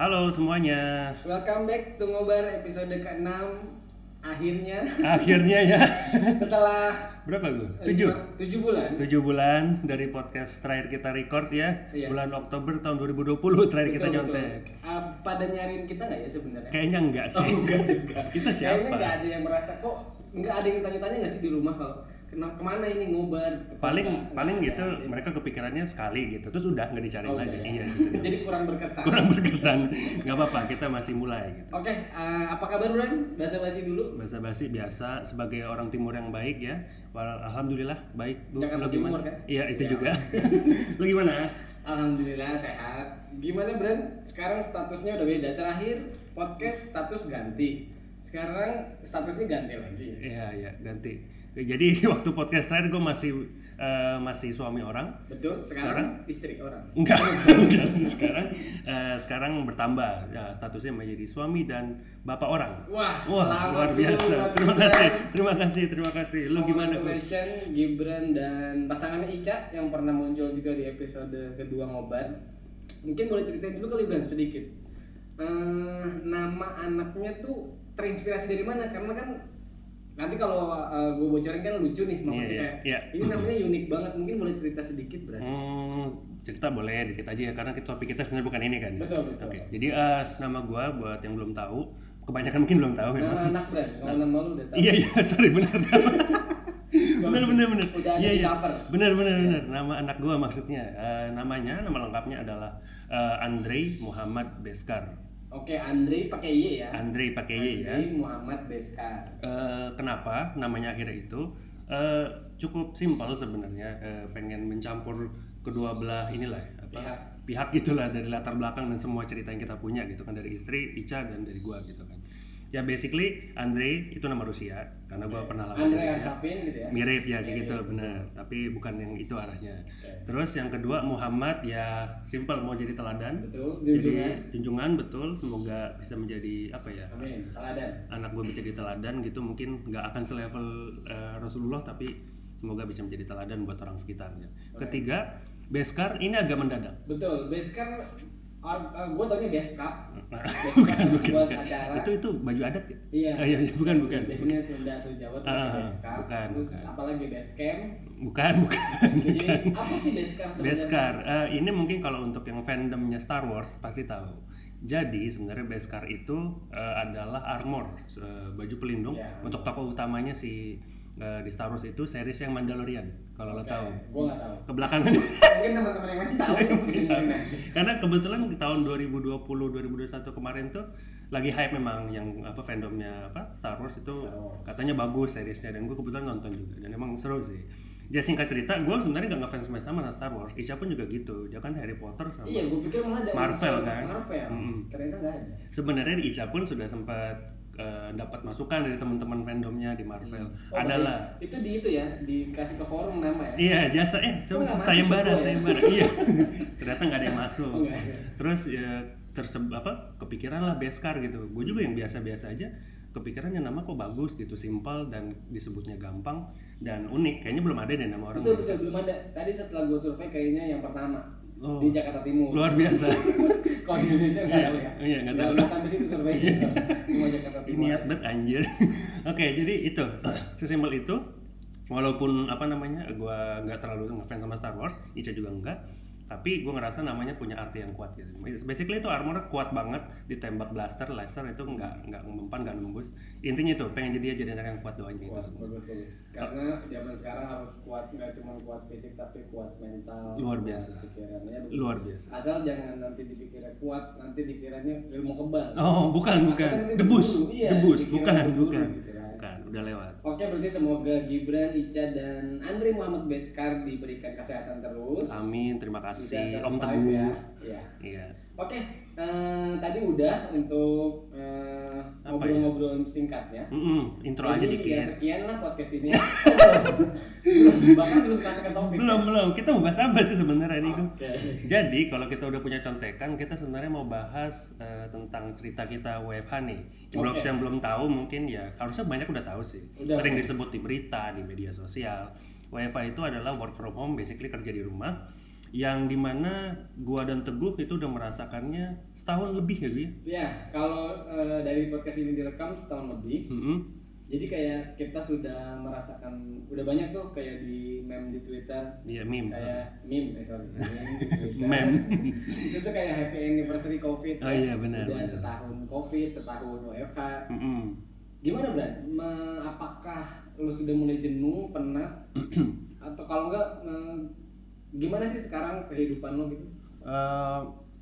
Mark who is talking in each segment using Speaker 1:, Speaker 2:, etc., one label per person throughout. Speaker 1: Halo semuanya.
Speaker 2: Welcome back to Ngobar episode ke-6 Akhirnya
Speaker 1: Akhirnya ya.
Speaker 2: Setelah
Speaker 1: Berapa gue? Tujuh.
Speaker 2: 7 bulan
Speaker 1: Tujuh bulan dari podcast terakhir kita record ya.
Speaker 2: Iya.
Speaker 1: Bulan Oktober tahun 2020 terakhir kita
Speaker 2: Betul,
Speaker 1: nyontek.
Speaker 2: betul. Ah, Pada nyariin kita nggak ya sebenarnya?
Speaker 1: Kayaknya enggak sih.
Speaker 2: Enggak juga
Speaker 1: Kita
Speaker 2: Kayaknya nggak
Speaker 1: siapa?
Speaker 2: ada yang merasa kok nggak ada yang tanya-tanya nggak sih di rumah kalau kenapa kemana ini ngobar
Speaker 1: Paling paling gitu mereka kepikirannya sekali gitu. Terus udah nggak
Speaker 2: Oh,
Speaker 1: dicari lagi.
Speaker 2: ya?
Speaker 1: Iya sih.
Speaker 2: Jadi kurang berkesan Oke,
Speaker 1: Kurang berkesan. nggak apa-apa, kita masih mulai gitu.
Speaker 2: ah, apa kabar Bran? Basa-basi dulu
Speaker 1: Bahasa basi biasa sebagai orang timur yang baik ya. Wal- Alhamdulillah baik. Lu,
Speaker 2: Jakarta
Speaker 1: lu gimana?
Speaker 2: Timur, kan?
Speaker 1: Iya, itu juga. lu gimana?
Speaker 2: Alhamdulillah sehat Gimana Bran? Sekarang statusnya udah beda Terakhir podcast status ganti Sekarang statusnya ganti lagi ya
Speaker 1: Iya iya ganti. Jadi waktu podcast terakhir gue masih eh, masih suami orang.
Speaker 2: Betul, sekarang, istri orang.
Speaker 1: Enggak, enggak. sekarang eh, sekarang bertambah Ya, statusnya menjadi suami dan bapak orang.
Speaker 2: Wah, selamat
Speaker 1: luar biasa.
Speaker 2: dulu,
Speaker 1: Terima
Speaker 2: Gibran.
Speaker 1: kasih, terima kasih, terima kasih. Lu gimana? Gu?
Speaker 2: Congratulations Gibran dan pasangannya Ica yang pernah muncul juga di episode kedua ngobar. Mungkin boleh ceritain dulu kali Bran sedikit. Eh, nama anaknya tuh terinspirasi dari mana? Karena kan nanti kalau gue bocorin kan lucu nih maksudnya
Speaker 1: Iya,
Speaker 2: kayak
Speaker 1: iya, iya.
Speaker 2: ini namanya unik banget mungkin boleh cerita sedikit Bran.
Speaker 1: Hmm, cerita boleh dikit aja ya karena kita- topik kita sebenarnya bukan ini kan.
Speaker 2: Betul betul.
Speaker 1: Oke, jadi eh, nama gue buat yang belum tahu, kebanyakan mungkin belum tahu ya, memang.
Speaker 2: Nama anak Bran, kalau nama lu udah tahu.
Speaker 1: Iya iya sorry benar benar benar benar
Speaker 2: Udah ada
Speaker 1: iya
Speaker 2: di
Speaker 1: iya
Speaker 2: cover.
Speaker 1: benar benar benar nama anak gua maksudnya Eh, namanya nama lengkapnya adalah eh, Andre Muhammad Beskar
Speaker 2: Oke, Andre pakai Y ya.
Speaker 1: Andre pakai Y ya
Speaker 2: Andre Muhammad Beskar.
Speaker 1: Eh, kenapa namanya akhirnya itu Eh, cukup simpel sebenarnya Eh, pengen mencampur kedua belah inilah ya, apa
Speaker 2: Pihak.
Speaker 1: pihak gitulah dari latar belakang dan semua cerita yang kita punya gitu kan dari istri Ica dan dari gua gitu kan ya basically Andre itu nama Rusia karena gua pernah lama di
Speaker 2: Andre
Speaker 1: Rusia
Speaker 2: Asafin gitu ya.
Speaker 1: mirip ya kayak gitu benar tapi bukan yang itu arahnya terus yang kedua Muhammad ya simpel mau jadi teladan
Speaker 2: Betul, junjungan.
Speaker 1: jadi junjungan betul semoga bisa menjadi apa ya
Speaker 2: Amin. Teladan.
Speaker 1: anak gue bisa jadi teladan gitu mungkin nggak akan selevel eh, Rasulullah tapi semoga bisa menjadi teladan buat orang sekitarnya ketiga Beskar ini agak mendadak
Speaker 2: Betul. kan, Basecamp gue ah, taunya base cup.
Speaker 1: Nah,
Speaker 2: Base cup kan buat acara.
Speaker 1: itu itu baju adat ya
Speaker 2: Iya.
Speaker 1: Ah, iya, iya, bukan bukan
Speaker 2: Biasanya Sunda atau Jawa tuh pakai
Speaker 1: Ah,
Speaker 2: base cup.
Speaker 1: bukan,
Speaker 2: Terus
Speaker 1: bukan.
Speaker 2: apalagi base camp.
Speaker 1: bukan bukan
Speaker 2: Jadi apa sih base camp sebenarnya?
Speaker 1: Beskar, eh, ini mungkin kalau untuk yang fandomnya Star Wars pasti tahu. Jadi sebenarnya Beskar itu eh, adalah armor, eh, baju pelindung
Speaker 2: Ya.
Speaker 1: untuk tokoh utamanya si eh, di Star Wars itu series yang Mandalorian kalau lo tahu.
Speaker 2: Gue nggak tahu.
Speaker 1: Kebelakangan
Speaker 2: Mungkin teman-teman yang lain tahu. Dengerin aja.
Speaker 1: karena kebetulan di tahun 2020 2021 kemarin tuh lagi hype memang yang apa fandomnya apa Star Wars itu
Speaker 2: Star Wars.
Speaker 1: katanya bagus seriesnya dan gue kebetulan nonton juga dan emang seru sih ya singkat cerita gue sebenarnya gak ngefans banget sama Star Wars Ica pun juga gitu dia kan Harry Potter sama
Speaker 2: Iya, gue pikir malah ada
Speaker 1: Marvel,
Speaker 2: unsur
Speaker 1: kan?
Speaker 2: Marvel. Ternyata nggak ada.
Speaker 1: sebenarnya Ica pun sudah sempat eh, dapat masukan dari teman-teman fandomnya di Marvel
Speaker 2: Oh,
Speaker 1: adalah
Speaker 2: baik. Itu di itu ya, dikasih ke forum nama ya.
Speaker 1: Iya jasa eh coba
Speaker 2: Oh, nggak
Speaker 1: sayembara
Speaker 2: masuk
Speaker 1: sayembara iya ternyata nggak ada yang masuk
Speaker 2: Nggak ada.
Speaker 1: terus ya, terse- apa kepikiran lah Beskar gitu gue juga yang biasa-biasa aja kepikiran yang nama kok bagus gitu simpel dan disebutnya gampang dan unik kayaknya belum ada deh nama orang
Speaker 2: Betul, betul, belum ada. Tadi setelah gue survei kayaknya yang pertama
Speaker 1: Oh.
Speaker 2: di Jakarta Timur.
Speaker 1: luar biasa
Speaker 2: Kalau di Indonesia nggak tahu ya.
Speaker 1: Iya, nggak tahu. Iya. ya.
Speaker 2: Nggak sampai situ surveinya. Cuma Jakarta Timur.
Speaker 1: niat banget anjir oke jadi itu sesimpel itu walaupun apa namanya gua nggak terlalu ngefans sama Star Wars Ica juga enggak tapi gua ngerasa namanya punya arti yang kuat gitu basically itu armor kuat banget ditembak blaster laser itu nggak nggak mempan nggak nembus intinya itu pengen jadi dia jadi anak yang kuat doanya itu
Speaker 2: Kuat,
Speaker 1: semua
Speaker 2: bagus, bagus. Karena zaman sekarang harus kuat nggak cuma kuat fisik tapi kuat mental.
Speaker 1: Luar biasa.
Speaker 2: kuat Pikirannya.
Speaker 1: luar biasa
Speaker 2: Asal jangan nanti dikira kuat, nanti dikiranya ilmu kebal.
Speaker 1: oh
Speaker 2: Nah,
Speaker 1: bukan bukan
Speaker 2: Makanya nanti
Speaker 1: debus
Speaker 2: berburu, kan iya,
Speaker 1: debus
Speaker 2: dikira
Speaker 1: bukan
Speaker 2: berburu
Speaker 1: bukan
Speaker 2: gitu kan.
Speaker 1: bukan udah lewat
Speaker 2: Oke, berarti semoga Gibran, Ica, dan Andre Muhammad Beskar diberikan kesehatan terus.
Speaker 1: amin terima
Speaker 2: Bisa
Speaker 1: kasih Om
Speaker 2: survive
Speaker 1: Teguh
Speaker 2: ya. Iya.
Speaker 1: iya
Speaker 2: Oke, eh, tadi udah untuk eh, ya.
Speaker 1: Apa ya?
Speaker 2: ngobrol-ngobrol singkatnya.
Speaker 1: Mm-mm, intro aja
Speaker 2: Jadi
Speaker 1: dikit
Speaker 2: ya sekian lah podcast ini. belum, bahkan belum sampai ke topik.
Speaker 1: belum belum kita mau bahas apa sih sebenarnya nih
Speaker 2: Oke.
Speaker 1: jadi kalau kita udah punya contekan kita sebenarnya mau bahas eh, tentang cerita kita WFH nih yang belum
Speaker 2: Oke.
Speaker 1: yang belum tahu mungkin ya harusnya banyak udah tahu sih
Speaker 2: Udah.
Speaker 1: sering disebut di berita di media sosial WFH itu adalah work from home basically kerja di rumah yang dimana gua dan Teguh itu udah merasakannya setahun lebih ya Bi?
Speaker 2: Ya, kalau eh, dari podcast ini direkam setahun lebih,
Speaker 1: Mm-mm.
Speaker 2: jadi kayak kita sudah merasakan udah banyak tuh kayak di meme di Twitter
Speaker 1: Iya meme.
Speaker 2: kayak meme, eh, sorry, meme di Twitter.
Speaker 1: Meme.
Speaker 2: itu tuh kayak happy anniversary COVID. kan.
Speaker 1: Oh iya, benar,
Speaker 2: Udah
Speaker 1: benar.
Speaker 2: setahun COVID, setahun WFH.
Speaker 1: Mm-mm.
Speaker 2: Gimana Bran? Me- apakah lu sudah mulai jenuh, penat? Atau kalau enggak eh, gimana sih sekarang kehidupan lu gitu?
Speaker 1: Eh,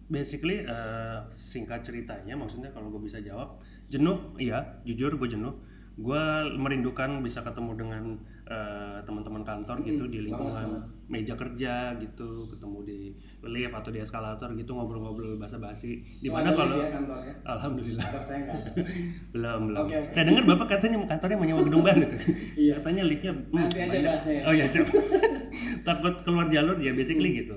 Speaker 1: basically eh, singkat ceritanya maksudnya kalau gue bisa jawab jenuh iya jujur gue jenuh gue merindukan bisa ketemu dengan eh, teman-teman kantor gitu di lingkungan meja kerja gitu ketemu di lift atau di eskalator gitu ngobrol-ngobrol basa-basi di
Speaker 2: Oh,
Speaker 1: mana
Speaker 2: ada lift
Speaker 1: kalau
Speaker 2: ya kantornya?
Speaker 1: alhamdulillah
Speaker 2: Kantor saya enggak. ada.
Speaker 1: belum belum
Speaker 2: Oke, oke.
Speaker 1: saya dengar bapak katanya kantornya mau nyewa gedung baru tuh
Speaker 2: Iya.
Speaker 1: katanya liftnya hmm,
Speaker 2: Nanti aja
Speaker 1: banyak.
Speaker 2: bahasnya ya.
Speaker 1: oh ya coba takut keluar jalur ya basically
Speaker 2: Hmm.
Speaker 1: gitu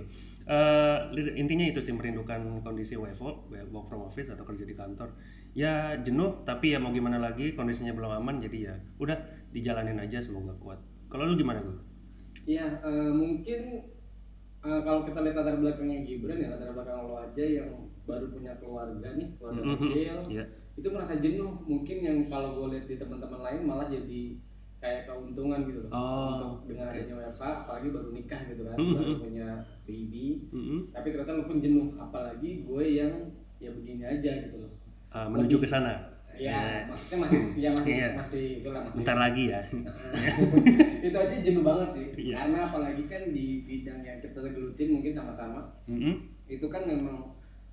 Speaker 1: Eh, li- intinya itu sih merindukan kondisi WFO work from office atau kerja di kantor ya jenuh tapi ya mau gimana lagi kondisinya belum aman jadi ya udah dijalanin aja semoga kuat kalau lu gimana gue
Speaker 2: Iya, eh, mungkin eh, kalau kita lihat latar belakangnya Gibran ya latar belakang lo aja yang baru punya keluarga nih, keluarga kecil.
Speaker 1: Iya.
Speaker 2: Itu merasa jenuh. Mungkin yang kalau gue lihat di teman-teman lain malah jadi kayak keuntungan gitu loh.
Speaker 1: Oh, Mm-hmm.
Speaker 2: Untuk dengan adanya WFA, apalagi baru nikah gitu kan, baru punya baby.
Speaker 1: Mm-mm.
Speaker 2: Tapi ternyata lo pun jenuh, apalagi gue yang ya begini aja gitu loh.
Speaker 1: Eh, menuju ke sana
Speaker 2: Ya, maksudnya masih ya masih
Speaker 1: Iya.
Speaker 2: masih itulah masih
Speaker 1: bentar lagi ya
Speaker 2: itu aja jenuh banget sih
Speaker 1: Iya.
Speaker 2: karena apalagi kan di bidang yang kita gelutin mungkin sama-sama
Speaker 1: Mm-mm.
Speaker 2: itu kan memang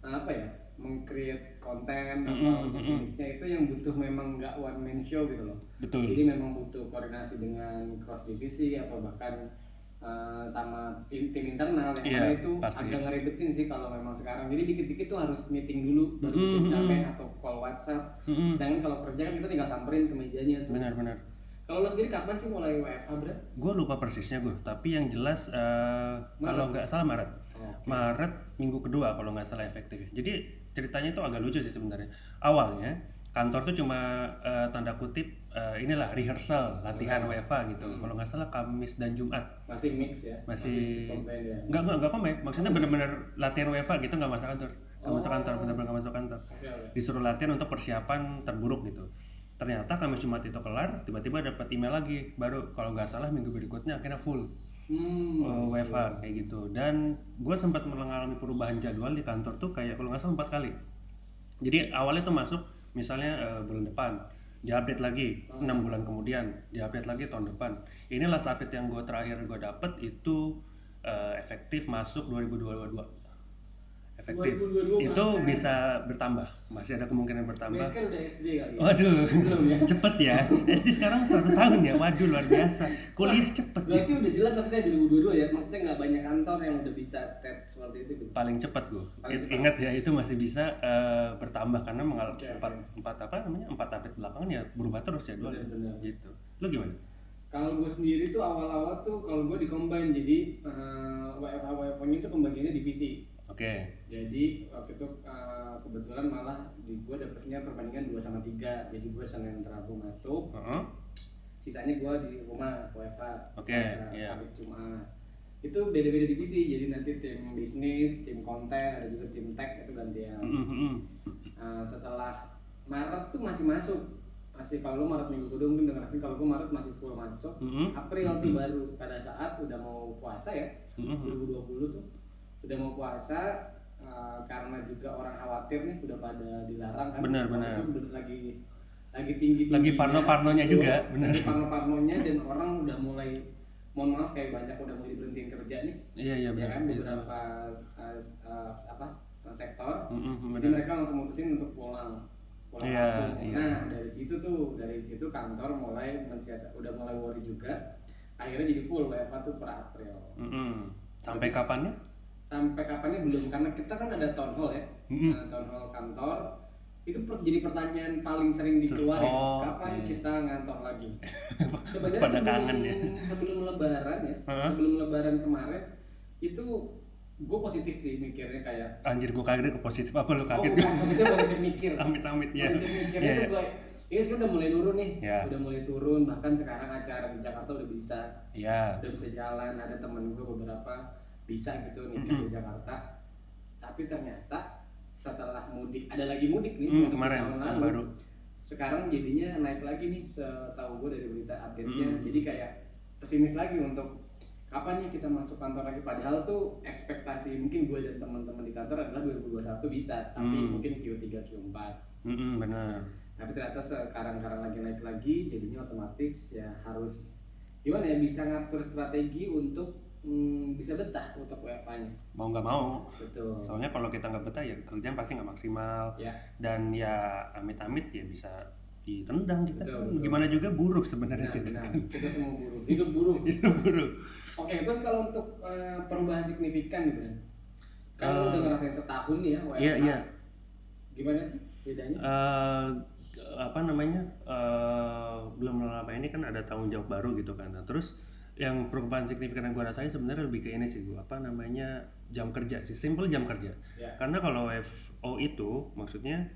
Speaker 2: apa ya mengcreate konten atau sejenisnya itu yang butuh memang nggak one man show gitu loh
Speaker 1: Betul.
Speaker 2: jadi memang butuh koordinasi dengan cross divisi atau bahkan eh, sama tim, tim internal yang
Speaker 1: Iya,
Speaker 2: mana itu
Speaker 1: pasti.
Speaker 2: agak ngeribetin sih kalau memang sekarang jadi dikit-dikit tuh harus meeting dulu baru
Speaker 1: Mm-hmm.
Speaker 2: bisa sampai atau call WhatsApp sedangkan kalau kerja kan kita tinggal samperin ke mejanya tuh
Speaker 1: benar-benar
Speaker 2: kalau lo sendiri kapan sih mulai WFH Brad?
Speaker 1: gue lupa persisnya gue tapi yang jelas eh, kalau nggak salah Maret Maret minggu kedua kalau nggak salah efektif ya. jadi ceritanya itu agak lucu sih sebenarnya awalnya kantor tuh cuma eh, tanda kutip eh, inilah rehearsal latihan WFA gitu kalau nggak salah Kamis dan Jumat
Speaker 2: masih mix ya
Speaker 1: masih
Speaker 2: komplain ya
Speaker 1: nggak nggak nggak komen maksudnya bener-bener latihan WFA gitu nggak masuk kantor nggak masuk kantor bener-bener nggak masuk kantor
Speaker 2: Oh. oke oke
Speaker 1: disuruh latihan untuk persiapan terburuk gitu ternyata Kamis Jumat itu kelar tiba-tiba dapat email lagi baru kalau nggak salah minggu berikutnya akhirnya full
Speaker 2: hmm
Speaker 1: eh, WFH kayak gitu dan gue sempat mengalami perubahan jadwal di kantor tuh kayak kalau nggak salah empat kali jadi awalnya tuh masuk misalnya eh, bulan depan diupdate lagi enam bulan kemudian diupdate lagi tahun depan inilah sapit yang gue terakhir gue dapet itu eh, efektif masuk 2022 efektif
Speaker 2: 2022
Speaker 1: itu bisa bertambah kan? masih ada kemungkinan bertambah
Speaker 2: Basecamp udah SD kali ya
Speaker 1: Waduh, cepet ya. SD sekarang 100 tahun ya. Waduh, luar biasa. Kuliah cepet.
Speaker 2: berarti udah jelas maksudnya 2022 ya maksudnya nggak banyak kantor yang udah bisa step seperti itu gitu
Speaker 1: paling cepat gue ingat ya itu masih bisa eh, bertambah karena mengalami empat empat apa namanya empat update belakangan ya berubah terus jadwal
Speaker 2: Benar-benar.
Speaker 1: gitu lu gimana
Speaker 2: kalau gue sendiri tuh awal-awal tuh kalau gue di combine jadi eh, WFH WFH nya itu pembagiannya divisi
Speaker 1: oke
Speaker 2: jadi waktu itu eh, kebetulan malah di gue dapetnya perbandingan 2 sama 3 jadi gue senin rabu masuk
Speaker 1: Heeh.
Speaker 2: sisanya gua di rumah WFH
Speaker 1: Oke,
Speaker 2: Selasa,
Speaker 1: iya.
Speaker 2: habis Jumat itu beda-beda divisi jadi nanti tim bisnis tim konten ada juga tim tech itu gantian
Speaker 1: Mm, mm, mm.
Speaker 2: Nah, setelah Maret tuh masih masuk masih kalau lu Maret minggu kedua mungkin udah ngerasain kalau gue Maret masih full masuk
Speaker 1: Mhm.
Speaker 2: April tuh baru pada saat udah mau puasa ya
Speaker 1: Mhm.
Speaker 2: 2020 tuh udah mau puasa eh, karena juga orang khawatir nih udah pada dilarang kan
Speaker 1: Benar,
Speaker 2: Waktu
Speaker 1: benar.
Speaker 2: itu udah lagi lagi tinggi
Speaker 1: Lagi parno-parnonya juga, benar.
Speaker 2: lagi parno-parnonya dan orang udah mulai mohon maaf kayak banyak udah mulai diberhentiin kerja nih
Speaker 1: iya iya
Speaker 2: ya
Speaker 1: benar
Speaker 2: kan beberapa eh, eh, apa eh, sektor
Speaker 1: Mm, mm,
Speaker 2: jadi mereka langsung mutusin untuk pulang pulang
Speaker 1: Iya,
Speaker 2: kampung.
Speaker 1: iya.
Speaker 2: nah dari situ tuh dari situ kantor mulai mensiasat udah mulai worry juga akhirnya jadi full WFH tuh per April
Speaker 1: Mm, mm. sampai kapan ya
Speaker 2: sampai kapannya belum karena kita kan ada town hall ya
Speaker 1: Mhm.
Speaker 2: Nah, town hall kantor itu per- jadi pertanyaan paling sering dikeluarin
Speaker 1: Oh,
Speaker 2: kapan
Speaker 1: iya.
Speaker 2: kita ngantor lagi sebenarnya
Speaker 1: Pada
Speaker 2: sebelum
Speaker 1: kangen ya.
Speaker 2: sebelum lebaran ya
Speaker 1: Heeh.
Speaker 2: sebelum lebaran kemarin itu gue positif sih mikirnya kayak
Speaker 1: anjir gue kaget ke positif apa lu
Speaker 2: oh
Speaker 1: kaget
Speaker 2: bukan maksudnya positif mikir
Speaker 1: amit amit ya
Speaker 2: Positif mikirnya
Speaker 1: Iya,
Speaker 2: tuh
Speaker 1: iya.
Speaker 2: gue ini sekarang udah mulai turun nih
Speaker 1: Iya.
Speaker 2: udah mulai turun bahkan sekarang acara di Jakarta udah bisa
Speaker 1: iya
Speaker 2: udah bisa jalan ada temen gue beberapa bisa gitu nikah di Jakarta tapi ternyata setelah mudik ada lagi mudik nih
Speaker 1: Hmm,
Speaker 2: yang
Speaker 1: kemarin,
Speaker 2: tahun
Speaker 1: yang
Speaker 2: lalu.
Speaker 1: baru.
Speaker 2: sekarang jadinya naik lagi nih setahu gue dari berita update-nya
Speaker 1: Mm.
Speaker 2: jadi kayak pesimis lagi untuk kapan nih kita masuk kantor lagi padahal tuh ekspektasi mungkin gue dan teman-teman di kantor adalah 2021 bisa tapi
Speaker 1: Mm.
Speaker 2: mungkin Q3 Q4
Speaker 1: Mm-mm, bener.
Speaker 2: tapi ternyata sekarang-karang lagi naik lagi jadinya otomatis ya harus gimana ya bisa ngatur strategi untuk mm, bisa betah untuk WFA nya
Speaker 1: Mau nggak mau.
Speaker 2: betul
Speaker 1: Soalnya kalau kita nggak betah ya kerjaan pasti nggak maksimal.
Speaker 2: ya
Speaker 1: Dan ya amit-amit ya bisa ditendang kita.
Speaker 2: Betul,
Speaker 1: kan.
Speaker 2: betul.
Speaker 1: Gimana juga buruk sebenarnya gitu.
Speaker 2: benar
Speaker 1: kita.
Speaker 2: benar kita semua buruh hidup buruh
Speaker 1: Itu buruk.
Speaker 2: oke terus kalau untuk eh, perubahan signifikan nih Bran kan lu udah ngerasain setahun nih ya WFA
Speaker 1: Eh, Iya iya.
Speaker 2: gimana sih bedanya
Speaker 1: eh apa namanya eh belum lama ini kan ada tanggung jawab baru gitu kan nah, terus yang perubahan signifikan yang gue rasain sebenarnya lebih ke ini sih gue apa namanya jam kerja sih simple jam kerja
Speaker 2: Ya.
Speaker 1: karena kalau WFO itu maksudnya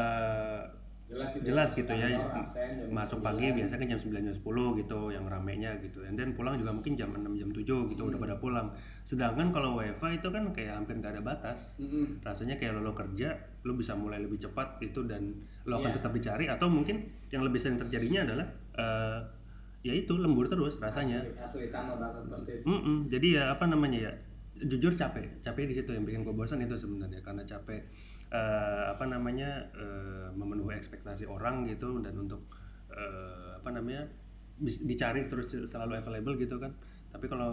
Speaker 1: eh
Speaker 2: jelas gitu
Speaker 1: jelas
Speaker 2: masuk
Speaker 1: gitu ya
Speaker 2: kantor, absen, jam
Speaker 1: masuk pagi biasanya kan jam 9 jam 10 gitu yang ramenya gitu and then pulang juga mungkin jam 6 jam 7 gitu udah pada pulang sedangkan kalau WFA itu kan kayak hampir gak ada batas rasanya kayak lo, lo kerja lo bisa mulai lebih cepat itu dan lo akan tetap dicari atau mungkin yang lebih sering terjadinya adalah eh, ya itu lembur terus rasanya
Speaker 2: asli sama banget persis
Speaker 1: Mm-mm. Jadi ya apa namanya ya? Jujur capek, capek di situ yang bikin gue bosan itu sebenarnya karena capek eh, apa namanya eh, memenuhi ekspektasi orang gitu dan untuk eh, apa namanya bis- dicari terus selalu available gitu kan. Tapi kalau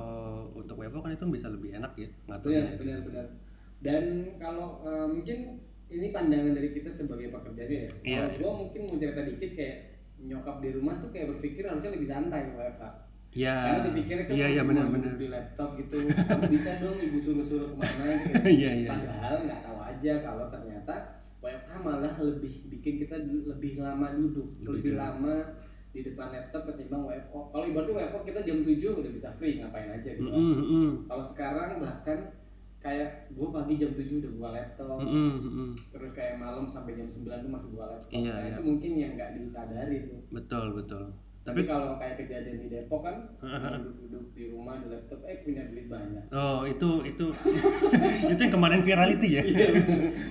Speaker 1: untuk WFO kan itu bisa lebih enak ya ngaturnya.
Speaker 2: benar benar benar dan kalau eh, mungkin ini pandangan dari kita sebagai pekerja aja ya
Speaker 1: Iya.
Speaker 2: kalau gue mungkin mau cerita dikit kayak nyokap di rumah tuh kayak berpikir harusnya lebih santai WFA
Speaker 1: Ya.
Speaker 2: karena dipikirnya kan
Speaker 1: Iya iya
Speaker 2: cuma
Speaker 1: benar
Speaker 2: duduk
Speaker 1: benar.
Speaker 2: di laptop gitu Kamu bisa dong ibu suruh-suruh kemana gitu
Speaker 1: Iya iya.
Speaker 2: padahal nggak tahu aja kalau ternyata WFH malah lebih bikin kita lebih lama duduk lebih, lama di depan laptop ketimbang WFO kalau ibaratnya WFO kita jam 7 udah bisa free ngapain aja gitu kan.
Speaker 1: Mm, mm,
Speaker 2: kalau sekarang bahkan kayak gue pagi jam 7 udah buka laptop
Speaker 1: mm, mm, mm.
Speaker 2: terus kayak malam sampai jam 9 tuh masih buka laptop
Speaker 1: Iya,
Speaker 2: Nah,
Speaker 1: iya.
Speaker 2: itu mungkin yang nggak disadari tuh
Speaker 1: Betul betul.
Speaker 2: tapi
Speaker 1: Tapi
Speaker 2: kalau kayak kejadian di Depok kan duduk-duduk di rumah di laptop eh punya duit banyak
Speaker 1: oh itu itu itu yang kemarin viral itu ya.
Speaker 2: Iya.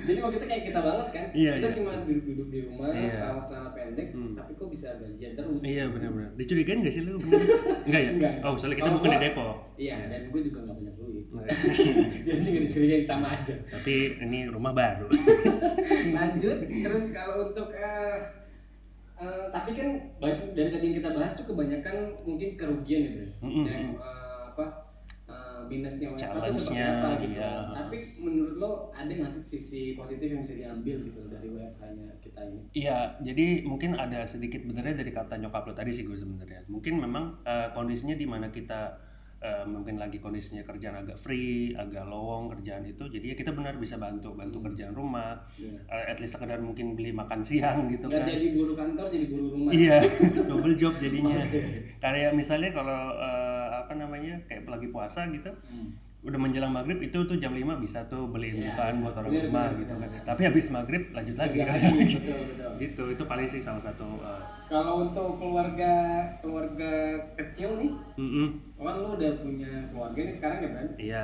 Speaker 2: jadi waktu itu kayak kita banget kan
Speaker 1: Iya,
Speaker 2: kita
Speaker 1: iya.
Speaker 2: cuma duduk-duduk di rumah
Speaker 1: Iya. Hmm.
Speaker 2: yeah. celana pendek tapi kok bisa gajian terus
Speaker 1: Iya benar-benar. Dicurigain gak sih lu? Enggak ya?
Speaker 2: Enggak.
Speaker 1: Oh, soalnya kita
Speaker 2: Kalau
Speaker 1: bukan di
Speaker 2: gua-
Speaker 1: Depok.
Speaker 2: iya dan gue juga nggak punya duit
Speaker 1: Iya.
Speaker 2: jadi nggak dicurigain sama aja
Speaker 1: Tapi ini rumah baru.
Speaker 2: lanjut terus kalau untuk eh, eh, tapi kan ba- dari tadi yang kita bahas tuh kebanyakan mungkin kerugian ya Bro. yang eh, apa eh, minusnya WFH tuh seperti
Speaker 1: Challenge-nya,
Speaker 2: apa gitu
Speaker 1: iya.
Speaker 2: tapi menurut lo ada nggak sih sisi positif yang bisa diambil gitu dari WFH nya kita ini
Speaker 1: Iya, jadi mungkin ada sedikit benernya dari kata nyokap lo tadi sih gue sebenarnya. Mungkin memang eh, kondisinya di mana kita eh, mungkin lagi kondisinya kerjaan agak free, agak lowong kerjaan itu, jadi ya kita benar bisa bantu bantu kerjaan rumah, Eh, at least sekedar mungkin beli makan siang gitu
Speaker 2: nggak
Speaker 1: kan.
Speaker 2: jadi buru kantor jadi buru rumah
Speaker 1: Iya, double job jadinya. Kayak misalnya kalau eh, apa namanya kayak lagi puasa gitu, udah menjelang maghrib itu tuh jam 5 bisa tuh beliin bukaan buat orang
Speaker 2: Iya. bener,
Speaker 1: rumah gitu kan. Tapi habis maghrib lanjut lagi
Speaker 2: Nggak
Speaker 1: kan.
Speaker 2: lagi, betul betul
Speaker 1: gitu, itu paling sih salah satu. eh,
Speaker 2: kalau untuk keluarga keluarga kecil nih
Speaker 1: mm-mm,
Speaker 2: kan lo udah punya keluarga nih sekarang ya Bran
Speaker 1: Iya.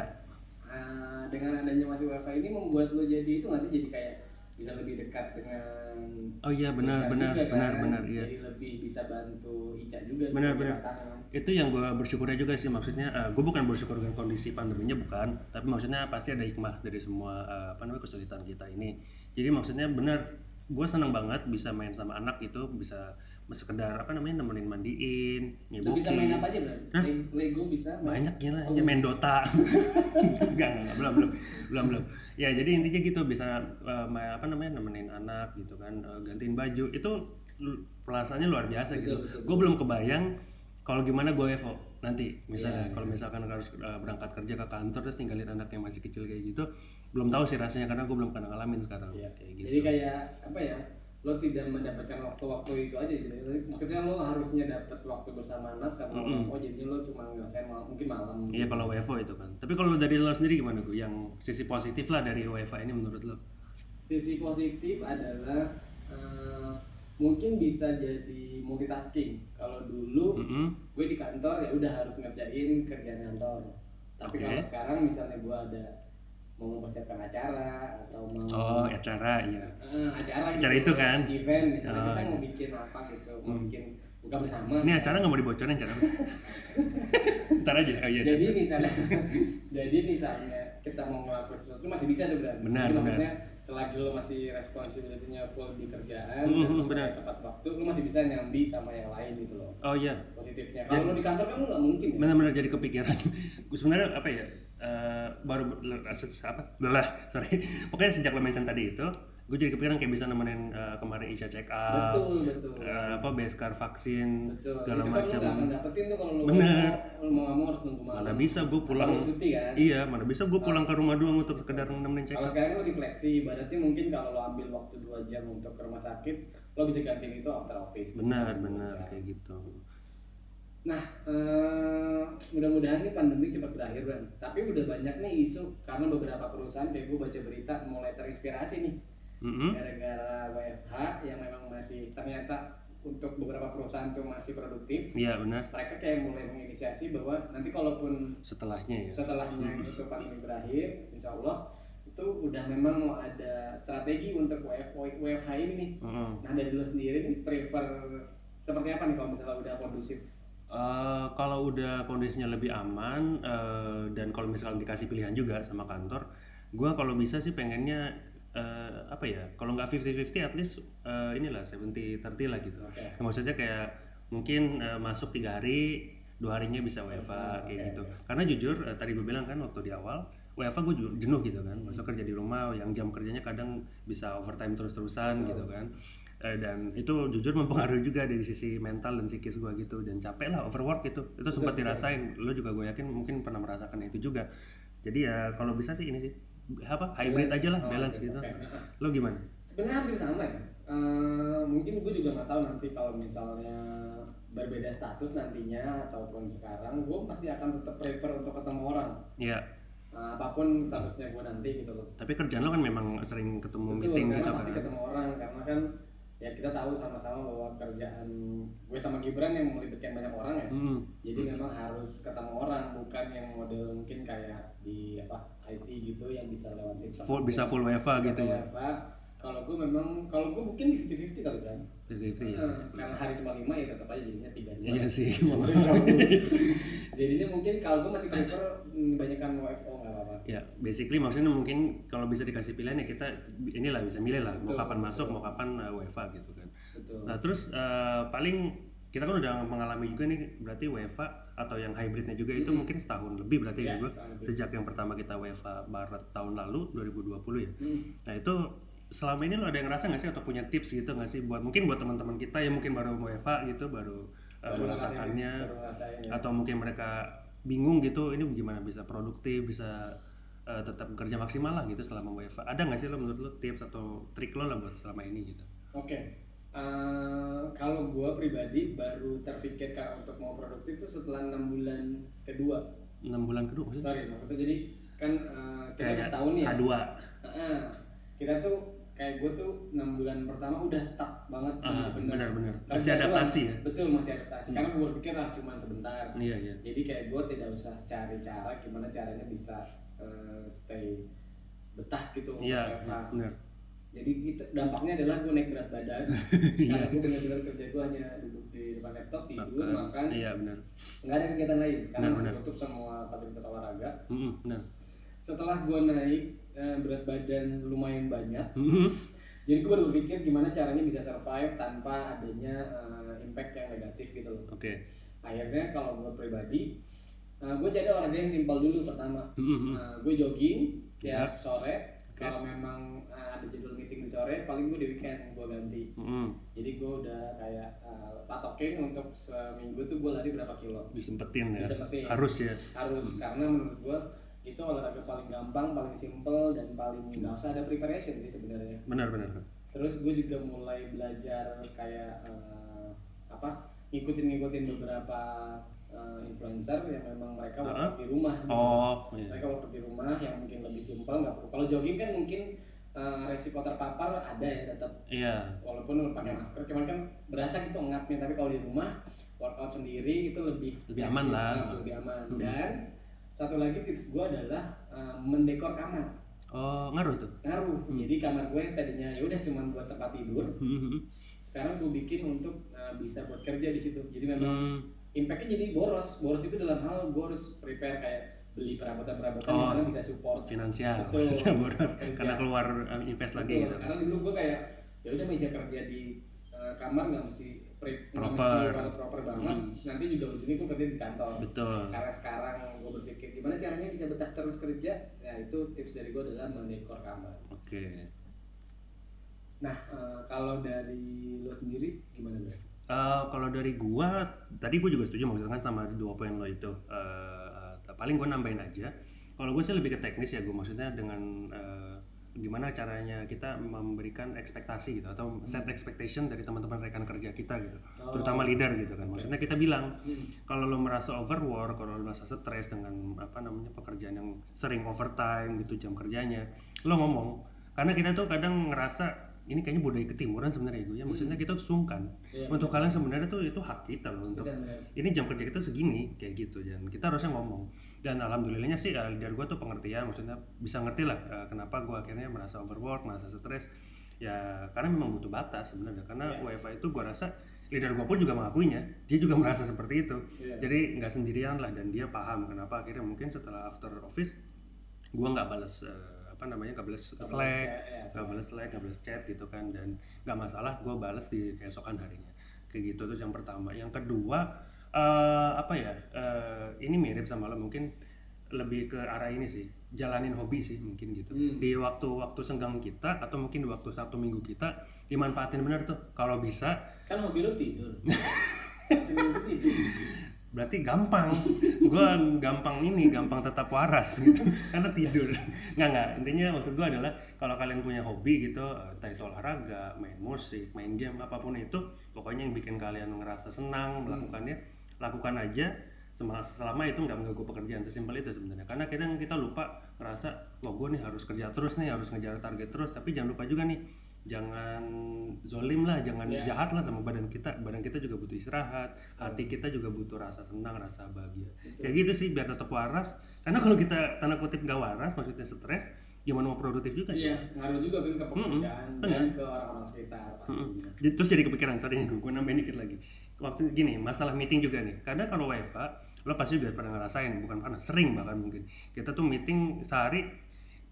Speaker 2: Ah, dengan adanya masih wifi ini membuat lo jadi itu nggak sih jadi kayak bisa lebih dekat dengan
Speaker 1: Oh iya benar
Speaker 2: Ica
Speaker 1: benar
Speaker 2: juga,
Speaker 1: benar
Speaker 2: kan?
Speaker 1: benar iya.
Speaker 2: jadi lebih bisa bantu Ica juga
Speaker 1: Benar,
Speaker 2: sebagai
Speaker 1: benar.
Speaker 2: pasangan.
Speaker 1: itu yang gue bersyukurnya juga sih maksudnya gue bukan bersyukur dengan kondisi pandeminya bukan tapi maksudnya pasti ada hikmah dari semua eh, apa namanya kesulitan kita ini jadi maksudnya benar gue senang banget bisa main sama anak gitu bisa sekedar apa namanya nemenin mandiin
Speaker 2: Lo bisa
Speaker 1: nyibukin
Speaker 2: main apa aja Bran Le- Lego bisa main
Speaker 1: banyak gila ya main Dota enggak enggak enggak, belum belum belum belum ya jadi intinya gitu bisa eh, ma- apa namanya nemenin anak gitu kan eh, gantiin baju itu l- perasaannya luar biasa gitu gue belum kebayang kalau gimana gue Evo nanti misalnya kalau misalkan harus eh, berangkat kerja ke kantor terus tinggalin anak yang masih kecil kayak gitu belum tahu sih rasanya karena gue belum pernah ngalamin sekarang kayak gitu
Speaker 2: jadi kayak apa ya lo tidak mendapatkan waktu-waktu itu aja gitu Jadi, maksudnya lo harusnya dapat waktu bersama anak karena oh jadinya lo cuma ngerasain mal- mungkin malam
Speaker 1: Iya kalau WFO itu kan. Tapi kalau dari lo sendiri gimana gue? Yang sisi positif lah dari WFO ini menurut lo?
Speaker 2: sisi positif adalah eh, mungkin bisa jadi multitasking kalau dulu
Speaker 1: Mm-mm.
Speaker 2: gue di kantor ya udah harus ngerjain kerjaan kantor tapi
Speaker 1: Oke.
Speaker 2: kalau sekarang misalnya gue ada mau mempersiapkan acara atau mau
Speaker 1: Oh, acara iya.
Speaker 2: Eh, acara
Speaker 1: Acara
Speaker 2: gitu,
Speaker 1: itu kan?
Speaker 2: event misalnya
Speaker 1: Oh, iya.
Speaker 2: kita
Speaker 1: Hmm.
Speaker 2: mau bikin apa gitu mau bikin buka bersama
Speaker 1: Ini acara nggak mau dibocorin acara. apa? Ntar aja. Oh iya.
Speaker 2: jadi misalnya jadi misalnya kita mau ngelakuin sesuatu masih bisa tuh berarti
Speaker 1: Benar,
Speaker 2: Jadi
Speaker 1: benar.
Speaker 2: maksudnya selagi lo masih responsibility-nya full di kerjaan
Speaker 1: Mhm,
Speaker 2: dan selesai
Speaker 1: benar.
Speaker 2: tepat waktu lo masih bisa nyambi sama yang lain gitu loh
Speaker 1: Oh iya.
Speaker 2: positifnya kalau lo di kantor kan lo nggak mungkin ya
Speaker 1: benar-benar jadi kepikiran Gua sebenarnya apa ya eh, baru ber- le- ses- apa lelah sorry pokoknya sejak lo mention tadi itu gue jadi kepikiran kayak bisa nemenin eh, kemarin Ica check up
Speaker 2: betul betul
Speaker 1: eh, apa beskar vaksin
Speaker 2: betul
Speaker 1: segala
Speaker 2: itu kan lo
Speaker 1: macam
Speaker 2: nggak akan dapetin tuh kalau lo
Speaker 1: Benar.
Speaker 2: mau lo mau nggak mau harus nunggu
Speaker 1: mana
Speaker 2: malam
Speaker 1: bisa gue pulang
Speaker 2: Kalau cuti kan
Speaker 1: iya mana bisa gue pulang ke rumah doang untuk sekedar nemenin check up
Speaker 2: kalau sekarang lo refleksi ibaratnya mungkin kalau lo ambil waktu 2 jam untuk ke rumah sakit lo bisa gantiin itu after office
Speaker 1: benar benar kayak gitu
Speaker 2: Nah, eh, mudah-mudahan nih pandemi cepat berakhir, Bran. Tapi udah banyak nih isu karena beberapa perusahaan kayak gue baca berita mulai terinspirasi nih
Speaker 1: Mm-mm.
Speaker 2: gara-gara WFH yang memang masih ternyata untuk beberapa perusahaan tuh masih produktif.
Speaker 1: iya benar
Speaker 2: Mereka kayak mulai menginisiasi bahwa nanti kalaupun
Speaker 1: setelahnya ya
Speaker 2: setelahnya itu pandemi berakhir, insya Allah itu udah memang mau ada strategi untuk WFO, WFH ini nih.
Speaker 1: Mm-mm.
Speaker 2: Nah dari lo sendiri nih prefer seperti apa nih kalau misalnya udah kondusif?
Speaker 1: Eh, kalau udah kondisinya lebih aman eh, dan kalau misalkan dikasih pilihan juga sama kantor, gua kalau bisa sih pengennya eh, apa ya? Kalau nggak 50-50 at least eh, inilah 70-30 lah gitu.
Speaker 2: Oke.
Speaker 1: Maksudnya kayak mungkin eh, masuk tiga hari, dua harinya bisa WFA kayak gitu. Karena jujur eh, tadi gue bilang kan waktu di awal WFA gue jenuh gitu kan. Maksudnya kerja di rumah yang jam kerjanya kadang bisa overtime terus-terusan gitu kan. Eh, dan itu jujur mempengaruhi juga dari sisi mental dan psikis gue gitu dan capek lah overwork gitu. Itu sempat dirasain. Lo juga gue yakin mungkin pernah merasakan itu juga. Jadi ya kalau bisa sih ini sih apa hybrid aja
Speaker 2: Oh,
Speaker 1: lah balance gitu. Lo gimana?
Speaker 2: sebenarnya hampir sama ya Eh, mungkin gue juga nggak tahu nanti kalau misalnya berbeda status nantinya ataupun sekarang gue masih akan tetap prefer untuk ketemu orang
Speaker 1: Ya,
Speaker 2: Eh, apapun statusnya gue nanti gitu loh
Speaker 1: tapi kerjaan lo kan memang sering ketemu
Speaker 2: Betul,
Speaker 1: meeting
Speaker 2: karena
Speaker 1: gitu
Speaker 2: pasti
Speaker 1: kan.
Speaker 2: ketemu orang karena kan ya kita tahu sama-sama bahwa kerjaan gue sama Gibran yang melibatkan banyak orang ya
Speaker 1: Hmm.
Speaker 2: jadi memang harus ketemu orang bukan yang model mungkin kayak di apa IT gitu yang bisa lewat sistem
Speaker 1: full bisa full WFA gitu ya
Speaker 2: WFA. kalau gue memang kalau gue mungkin di 50-50 kali kan
Speaker 1: 50-50 ya
Speaker 2: Eh, karena hari cuma lima ya tetap aja jadinya tiga dua
Speaker 1: iya sih
Speaker 2: jadinya mungkin kalau gue masih prefer mm, banyakkan WFO nggak apa-apa
Speaker 1: ya basically maksudnya mungkin kalau bisa dikasih pilihan ya kita inilah bisa milih lah mau
Speaker 2: Betul,
Speaker 1: kapan masuk mau kapan uh, WFA gitu kan
Speaker 2: betul
Speaker 1: nah terus uh, paling kita kan udah mengalami juga nih berarti WFA atau yang hybridnya juga itu mungkin setahun lebih berarti ya,
Speaker 2: Ya,
Speaker 1: gue
Speaker 2: setahun
Speaker 1: sejak yang pertama kita WFA Maret tahun lalu 2020 ya
Speaker 2: Hmm.
Speaker 1: nah itu selama ini lo ada yang ngerasa nggak sih atau punya tips gitu nggak sih buat mungkin buat teman-teman kita yang mungkin baru WFA gitu baru, uh,
Speaker 2: Baru ngerasain,
Speaker 1: merasakannya
Speaker 2: baru ngerasain ya.
Speaker 1: atau mungkin mereka bingung gitu ini gimana bisa produktif bisa eh, tetap kerja maksimal lah gitu selama WFA ada nggak sih lo menurut lo tips atau trik lo lah buat selama ini gitu
Speaker 2: Oke, Eh, kalau gue pribadi baru terfikirkan untuk mau produktif itu setelah enam bulan kedua.
Speaker 1: enam bulan kedua maksudnya
Speaker 2: Sorry, maksudnya jadi kan eh, kita udah
Speaker 1: Kayak
Speaker 2: setahun ya.
Speaker 1: K2
Speaker 2: Heeh. kita tuh kayak gue tuh enam bulan pertama udah stuck banget
Speaker 1: Ah,
Speaker 2: bener-bener.
Speaker 1: benar-benar.
Speaker 2: Kerja
Speaker 1: Masih
Speaker 2: doang.
Speaker 1: adaptasi ya? Hmm.
Speaker 2: Betul masih adaptasi. Karena gue berpikir ah cuman sebentar.
Speaker 1: iya iya
Speaker 2: Jadi kayak gue tidak usah cari cara gimana caranya bisa eh, stay betah gitu untuk
Speaker 1: iya
Speaker 2: WFH
Speaker 1: benar
Speaker 2: jadi itu dampaknya adalah gue naik berat badan
Speaker 1: Iya.
Speaker 2: karena gue benar-benar kerja gue hanya duduk di depan laptop tidur makan
Speaker 1: iya benar
Speaker 2: nggak ada kegiatan lain karena
Speaker 1: Benar,
Speaker 2: masih
Speaker 1: benar.
Speaker 2: tutup semua fasilitas olahraga
Speaker 1: Mm-mm, benar
Speaker 2: setelah gue naik eh, berat badan lumayan banyak
Speaker 1: Mm-mm.
Speaker 2: jadi gue baru berpikir gimana caranya bisa survive tanpa adanya eh, impact yang negatif gitu loh
Speaker 1: oke
Speaker 2: akhirnya kalau gue pribadi gue cari olahraga yang simpel dulu pertama
Speaker 1: Mm-mm.
Speaker 2: gue jogging
Speaker 1: Ya.
Speaker 2: tiap sore kalau memang eh, ada jadwal meeting di sore paling gue di weekend gue ganti
Speaker 1: Mm-mm.
Speaker 2: jadi gue udah kayak eh, patokin untuk seminggu tuh gue lari berapa kilo
Speaker 1: disempetin ya
Speaker 2: Disempetin.
Speaker 1: harus ya
Speaker 2: harus karena menurut gue itu olahraga paling gampang paling simple dan paling nggak usah ada preparation sih sebenarnya
Speaker 1: benar benar
Speaker 2: terus gue juga mulai belajar kayak eh, apa ngikutin-ngikutin beberapa eh, influencer yang memang mereka workout di rumah gitu.
Speaker 1: oh iya
Speaker 2: mereka workout di rumah yang mungkin lebih simple nggak perlu kalau jogging kan mungkin eh, resiko terpapar ada ya tetap
Speaker 1: iya
Speaker 2: walaupun lu pakai masker cuman kan berasa gitu ngapnya tapi kalau di rumah workout sendiri itu lebih
Speaker 1: Lebih aman lah. Hmm.
Speaker 2: lebih aman dan satu lagi tips gue adalah eh, mendekor kamar
Speaker 1: Oh, ngaruh tuh.
Speaker 2: ngaruh jadi kamar gue yang tadinya ya udah cuman buat tempat tidur
Speaker 1: Hmm.
Speaker 2: sekarang gue bikin untuk eh, bisa buat kerja di situ jadi memang
Speaker 1: Hmm.
Speaker 2: impactnya jadi boros boros itu dalam hal gue harus prepare kayak beli perabotan perabotan
Speaker 1: Oh.
Speaker 2: yang mana bisa support
Speaker 1: Finansial.
Speaker 2: Betul.
Speaker 1: Boros.
Speaker 2: Kerja.
Speaker 1: Karena keluar eh, invest lagi
Speaker 2: Betul,
Speaker 1: gitu.
Speaker 2: karena dulu gue kayak ya udah meja kerja di eh, kamar nggak mesti pre- nggak mesti
Speaker 1: Proper. Hmm.
Speaker 2: proper proper banget nanti juga ujungnya gue kerja di kantor
Speaker 1: Betul.
Speaker 2: karena sekarang gue berpikir gimana caranya bisa betah terus kerja ya itu tips dari gue adalah mendekor kamar
Speaker 1: Oke.
Speaker 2: nah eh, kalau dari lo sendiri gimana Bre?
Speaker 1: Eh, kalau dari gua tadi gua juga setuju maksudnya kan sama dua poin lo itu Eh, eh, paling gua nambahin aja kalau gua sih lebih ke teknis ya gua maksudnya dengan eh, gimana caranya kita memberikan ekspektasi gitu atau set expectation dari teman-teman rekan kerja kita gitu terutama leader gitu kan maksudnya kita bilang kalau lo merasa overwork kalau lo merasa stres dengan apa namanya pekerjaan yang sering overtime gitu jam kerjanya lo ngomong karena kita tuh kadang ngerasa ini kayaknya budaya ketimuran sebenarnya itu ya maksudnya kita tuh sungkan untuk kalian sebenarnya tuh itu hak kita loh untuk
Speaker 2: Dan, eh,
Speaker 1: ini jam kerja kita segini kayak gitu dan kita harusnya ngomong dan alhamdulillahnya sih eh, leader gue tuh pengertian maksudnya bisa ngerti lah eh, kenapa gue akhirnya merasa overwork merasa stres ya karena memang butuh batas sebenarnya karena WFA itu gue rasa leader gue pun juga mengakuinya dia juga merasa seperti itu jadi nggak sendirian lah dan dia paham kenapa akhirnya mungkin setelah after office gue nggak balas eh, apa namanya nggak balas slack nggak balas like nggak balas chat gitu kan dan nggak masalah gue balas di keesokan harinya kayak gitu terus yang pertama yang kedua eh, apa ya eh, ini mirip sama lo mungkin lebih ke arah ini sih jalanin hobi sih mungkin gitu di waktu-waktu senggang kita atau mungkin di waktu satu minggu kita dimanfaatin bener tuh kalau bisa
Speaker 2: kan hobi lo tidur Hobi lo tidur
Speaker 1: berarti gampang gua gampang ini gampang tetap waras gitu karena tidur nggak nggak intinya maksud gua adalah kalau kalian punya hobi gitu eh, entah itu olahraga main musik main game apapun itu pokoknya yang bikin kalian ngerasa senang melakukannya lakukan aja sema- selama itu nggak mengganggu pekerjaan sesimpel itu sebenarnya karena kadang kita lupa ngerasa wah gua nih harus kerja terus nih harus ngejar target terus tapi jangan lupa juga nih jangan zolim lah, jangan jahat lah sama badan kita. Badan kita juga butuh istirahat, hati kita juga butuh rasa senang, rasa bahagia. Kayak gitu sih biar tetap waras. Karena kalau kita tanda kutip gak waras, maksudnya stres, gimana mau produktif juga sih.
Speaker 2: iya ngaruh juga kan ke pekerjaan dan ke orang-orang sekitar pastinya
Speaker 1: Jadi- Terus jadi kepikiran, sorry gue, gue nambahin dikit lagi. Waktu gini, masalah meeting juga nih. Kadang kalau WFA, lo pasti udah pernah ngerasain, bukan pernah, sering bahkan mungkin. Kita tuh meeting sehari,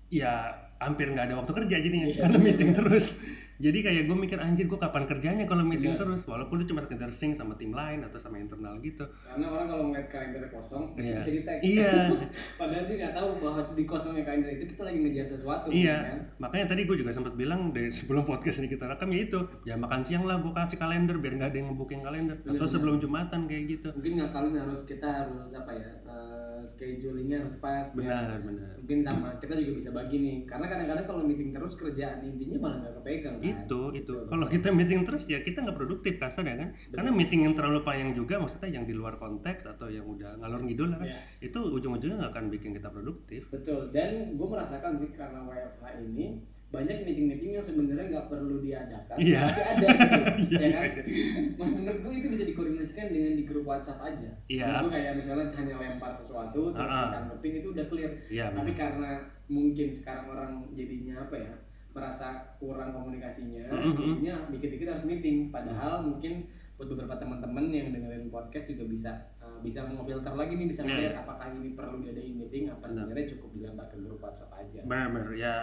Speaker 1: ya hampir nggak ada waktu kerja jadinya, karena meeting terus. Jadi kayak gue mikir, anjir gue kapan kerjanya kalau meeting terus? Walaupun itu cuma sekedar sync sama tim lain atau sama internal gitu.
Speaker 2: karena orang kalau ngeliat kalender kosong itu
Speaker 1: Iya.
Speaker 2: bisa di tag
Speaker 1: Iya.
Speaker 2: padahal dia nggak tahu bahwa di kosongnya kalender itu kita lagi ngejar sesuatu
Speaker 1: Iya,
Speaker 2: kan?
Speaker 1: makanya tadi gue juga sempat bilang dari sebelum podcast ini kita rekam ya itu ya makan siang lah gue kasih kalender biar nggak ada yang ngebooking kalender atau sebelum jumatan kayak gitu.
Speaker 2: mungkin ngakalin harus kita harus apa ya eh, schedulingnya harus pas biar
Speaker 1: Benar, benar.
Speaker 2: mungkin sama kita juga bisa bagi nih karena kadang-kadang kalau meeting terus kerjaan intinya malah nggak kepegang kan
Speaker 1: itu itu kalau kita meeting terus ya kita nggak produktif kasar ya kan karena meeting yang terlalu panjang juga maksudnya yang di luar konteks atau yang udah ngalor ngidul lah kan itu ujung-ujungnya nggak akan bikin kita produktif
Speaker 2: betul dan gue merasakan sih karena WFH ini banyak meeting-meeting yang sebenarnya nggak perlu diadakan
Speaker 1: Iya.
Speaker 2: tapi ada gitu ya kan Mas, menurut gue itu bisa dikoordinasikan dengan di grup WhatsApp aja
Speaker 1: Iya.
Speaker 2: Menurut gue kayak misalnya hanya lempar sesuatu terus ditanggepin itu udah clear
Speaker 1: Iya,
Speaker 2: tapi karena mungkin sekarang orang jadinya apa ya merasa kurang komunikasinya
Speaker 1: Mm-hmm.
Speaker 2: jadinya dikit-dikit harus meeting padahal mungkin buat beberapa teman-teman yang dengerin podcast juga bisa uh, bisa ngefilter lagi nih bisa
Speaker 1: Iya,
Speaker 2: ngeliat apakah ini perlu diadain meeting apa sebenarnya cukup dilempar ke grup WhatsApp aja
Speaker 1: benar-benar ya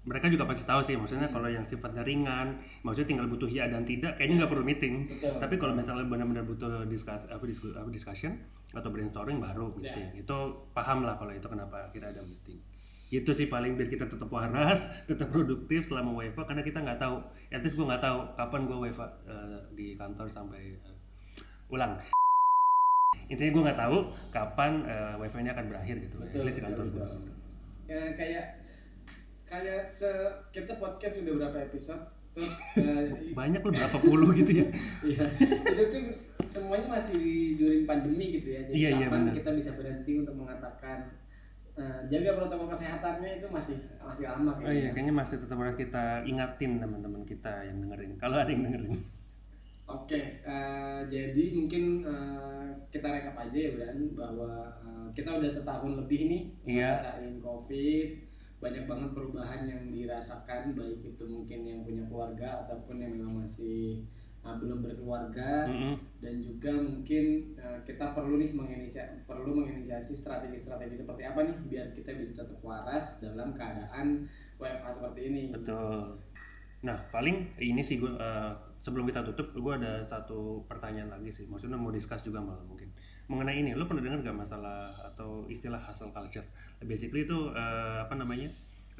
Speaker 1: mereka juga pasti tahu sih maksudnya kalau yang sifatnya ringan maksudnya tinggal butuh ya dan tidak kayaknya nggak perlu meeting
Speaker 2: Betul.
Speaker 1: tapi kalau misalnya benar-benar butuh discuss apa, disku- apa, discussion atau brainstorming baru meeting itu paham lah kalau itu kenapa kita ada meeting itu sih paling biar kita tetap waras tetap produktif selama WFA karena kita nggak tahu at least gue nggak tahu kapan gue WFA eh, di kantor sampai eh, ulang intinya gue nggak tahu kapan eh, WFA ini akan berakhir gitu at least di kantor gitu. gue
Speaker 2: ya kayak kayak se kita podcast udah berapa episode terus uh,
Speaker 1: banyak loh berapa puluh gitu ya
Speaker 2: Iya. itu tuh semuanya masih di during pandemi gitu ya. Jadi
Speaker 1: Iya, iya,
Speaker 2: kapan
Speaker 1: benar.
Speaker 2: kita bisa berhenti untuk mengatakan eh, jaga protokol kesehatannya itu masih masih lama
Speaker 1: oh
Speaker 2: kayaknya.
Speaker 1: iya kayaknya masih tetap harus kita ingatin teman-teman kita yang dengerin kalau ada yang dengerin
Speaker 2: Oke, eh, jadi mungkin eh, kita rekap aja ya Bran bahwa eh, kita udah setahun lebih nih
Speaker 1: Iya.
Speaker 2: ngerasain COVID, banyak banget perubahan yang dirasakan baik itu mungkin yang punya keluarga ataupun yang memang masih eh, belum berkeluarga
Speaker 1: Mm-mm.
Speaker 2: dan juga mungkin eh, kita perlu nih menginisiasi perlu menginisiasi strategi-strategi seperti apa nih biar kita bisa tetap waras dalam keadaan WFH seperti ini.
Speaker 1: Betul. Nah, paling ini sih gua eh, sebelum kita tutup, gua ada satu pertanyaan lagi sih. Maksudnya mau discuss juga malah mungkin. Mengenai ini, lo pernah dengar gak masalah atau istilah hustle culture? Basically itu eh, apa namanya?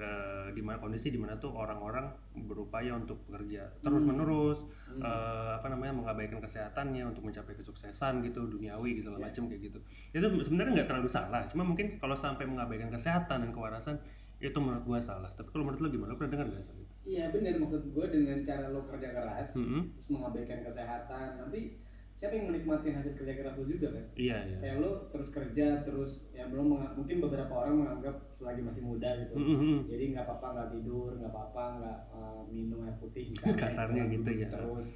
Speaker 1: eh, di mana kondisi di mana tuh orang-orang berupaya untuk bekerja terus menerus eh, apa namanya mengabaikan kesehatannya untuk mencapai kesuksesan gitu duniawi gitu segala macam kayak gitu itu sebenarnya nggak terlalu salah cuma mungkin kalau sampai mengabaikan kesehatan dan kewarasan itu menurut gua salah tapi kalau menurut lo gimana lo pernah dengar gak soal itu
Speaker 2: Iya benar maksud gue dengan cara lo kerja keras
Speaker 1: Mhm.
Speaker 2: terus mengabaikan kesehatan nanti siapa yang menikmati hasil kerja keras lo juga kan?
Speaker 1: iya iya
Speaker 2: Kayak lo terus kerja terus ya belum menga- mungkin beberapa orang menganggap selagi masih muda gitu
Speaker 1: Mhm.
Speaker 2: jadi nggak apa-apa nggak tidur nggak apa-apa nggak eh, minum air putih misalnya
Speaker 1: Kasarnya
Speaker 2: Terus-
Speaker 1: gitu ya.
Speaker 2: terus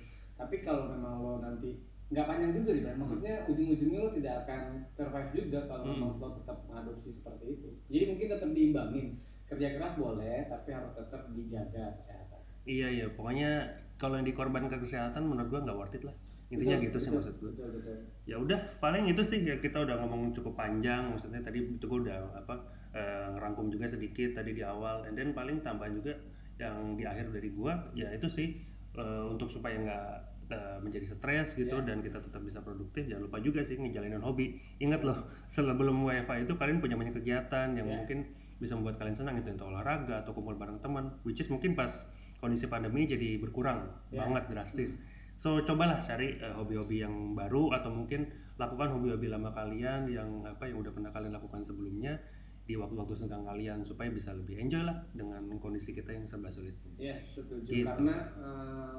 Speaker 2: tapi kalau memang lo nanti nggak panjang juga sih Bran. maksudnya ujung-ujungnya lo tidak akan survive juga
Speaker 1: Hmm.
Speaker 2: kalau memang lo tetap mengadopsi seperti itu jadi mungkin tetap diimbangin kerja keras boleh tapi harus tetap dijaga kesehatan
Speaker 1: iya iya pokoknya kalau yang dikorbankan kesehatan menurut gua nggak worth it lah intinya gitu sih maksud gua
Speaker 2: betul betul
Speaker 1: ya udah paling itu sih ya kita udah ngomong cukup panjang maksudnya tadi itu gua udah apa eh, ngerangkum juga sedikit tadi di awal and then paling tambahan juga yang di akhir dari gua ya itu sih eh, untuk supaya nggak eh, menjadi stres gitu dan kita tetap bisa produktif jangan lupa juga sih ngejalanin hobi ingat loh sebelum WFA itu kalian punya banyak kegiatan yang mungkin bisa membuat kalian senang gitu entah olahraga atau kumpul bareng teman which is mungkin pas kondisi pandemi jadi berkurang banget drastis So cobalah cari eh, hobi-hobi yang baru atau mungkin lakukan hobi-hobi lama kalian yang apa yang udah pernah kalian lakukan sebelumnya di waktu-waktu senggang kalian supaya bisa lebih enjoy lah dengan kondisi kita yang serba sulit.
Speaker 2: Yes, setuju.
Speaker 1: Gitu.
Speaker 2: Karena eh,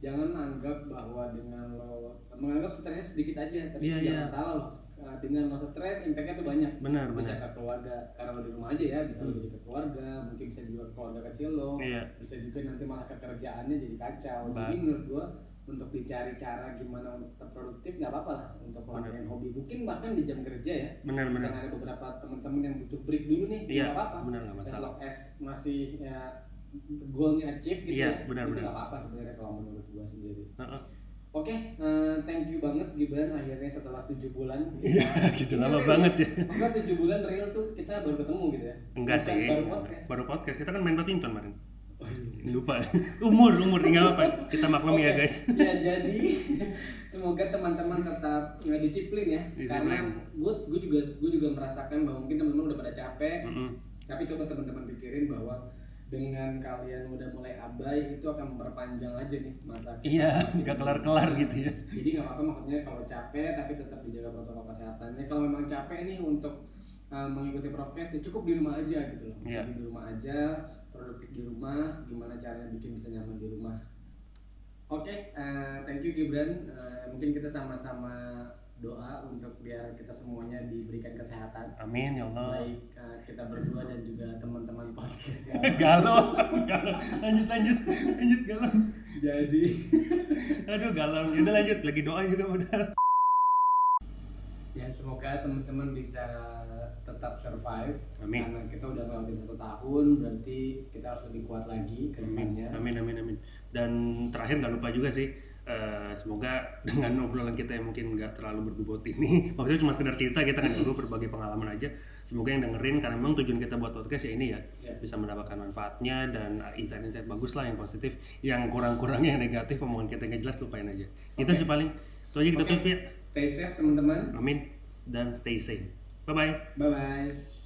Speaker 2: jangan anggap bahwa dengan lo menganggap stresnya sedikit aja, tapi
Speaker 1: Iya,
Speaker 2: jangan salah lo. Eh, dengan lo stres, impactnya tuh banyak.
Speaker 1: Benar,
Speaker 2: Bisa ke keluarga, karena lo di rumah aja ya, bisa lo jadi ke keluarga, mungkin bisa juga ke keluarga kecil lo,
Speaker 1: Hmm. Iya.
Speaker 2: bisa juga nanti malah ke kerjaannya jadi kacau. Jadi menurut gua untuk dicari cara gimana untuk tetap produktif nggak apa-apa lah untuk ngelakuin hobi mungkin bahkan di jam kerja ya
Speaker 1: Benar benar.
Speaker 2: misalnya ada beberapa teman-teman yang butuh break dulu nih
Speaker 1: Iya,
Speaker 2: nggak apa-apa
Speaker 1: benar, nggak
Speaker 2: As
Speaker 1: masalah.
Speaker 2: long as masih ya, goalnya achieve gitu
Speaker 1: Iya,
Speaker 2: ya
Speaker 1: benar,
Speaker 2: itu
Speaker 1: benar.
Speaker 2: nggak apa-apa sebenarnya kalau menurut gua sendiri
Speaker 1: Heeh.
Speaker 2: oke eh, thank you banget Gibran akhirnya setelah tujuh bulan
Speaker 1: gitu
Speaker 2: Ini
Speaker 1: lama
Speaker 2: real
Speaker 1: banget ya.
Speaker 2: masa tujuh bulan real tuh kita baru ketemu gitu ya
Speaker 1: Enggak
Speaker 2: Bukan
Speaker 1: sih.
Speaker 2: baru podcast
Speaker 1: Baru podcast. Oh, iya. Kita kan main badminton kemarin. Lupa. umur umur tinggal apa? Kita maklumi ya
Speaker 2: Oke,
Speaker 1: guys.
Speaker 2: ya jadi semoga teman-teman tetap eh, disiplin ya
Speaker 1: Disiplin.
Speaker 2: karena gue gue juga gue juga merasakan bahwa mungkin teman-teman udah pada capek
Speaker 1: Mm-mm.
Speaker 2: tapi coba teman-teman pikirin bahwa dengan kalian udah mulai abai itu akan memperpanjang aja nih masa kita.
Speaker 1: Iya, nggak kelar-kelar gitu ya.
Speaker 2: jadi nggak apa-apa maksudnya kalau capek tapi tetap dijaga protokol kesehatannya kalau memang capek nih untuk eh, mengikuti prokes ya cukup di rumah aja gitu loh
Speaker 1: Iya.
Speaker 2: Jadi di rumah aja produktif di rumah gimana caranya bikin bisa nyaman di rumah oke eh, thank you Gibran Eh, mungkin kita sama-sama doa untuk biar kita semuanya diberikan kesehatan
Speaker 1: Amin ya Allah.
Speaker 2: baik eh, kita berdua dan juga teman-teman podcast ya.
Speaker 1: galau. galau. Lanjut lanjut lanjut galau.
Speaker 2: jadi
Speaker 1: Aduh galau. Udah lanjut lagi doa juga padahal.
Speaker 2: ya semoga teman-teman bisa tetap survive
Speaker 1: Amin.
Speaker 2: karena kita udah melewati satu tahun berarti kita harus lebih kuat lagi ke depannya
Speaker 1: Amin amin amin. Dan terakhir nggak lupa juga sih eh, semoga dengan obrolan kita yang mungkin nggak terlalu berbobot ini maksudnya cuma sekedar cerita kita kan dulu berbagi pengalaman aja semoga yang dengerin karena memang tujuan kita buat podcast ya ini ya
Speaker 2: Ya.
Speaker 1: bisa mendapatkan manfaatnya dan eh, insight-insight bagus lah yang positif yang kurang-kurangnya yang negatif omongan kita yang nggak jelas lupain aja itu sih paling itu aja kita
Speaker 2: Oke.
Speaker 1: tutup ya
Speaker 2: stay safe teman-teman
Speaker 1: amin dan stay safe bye bye
Speaker 2: bye bye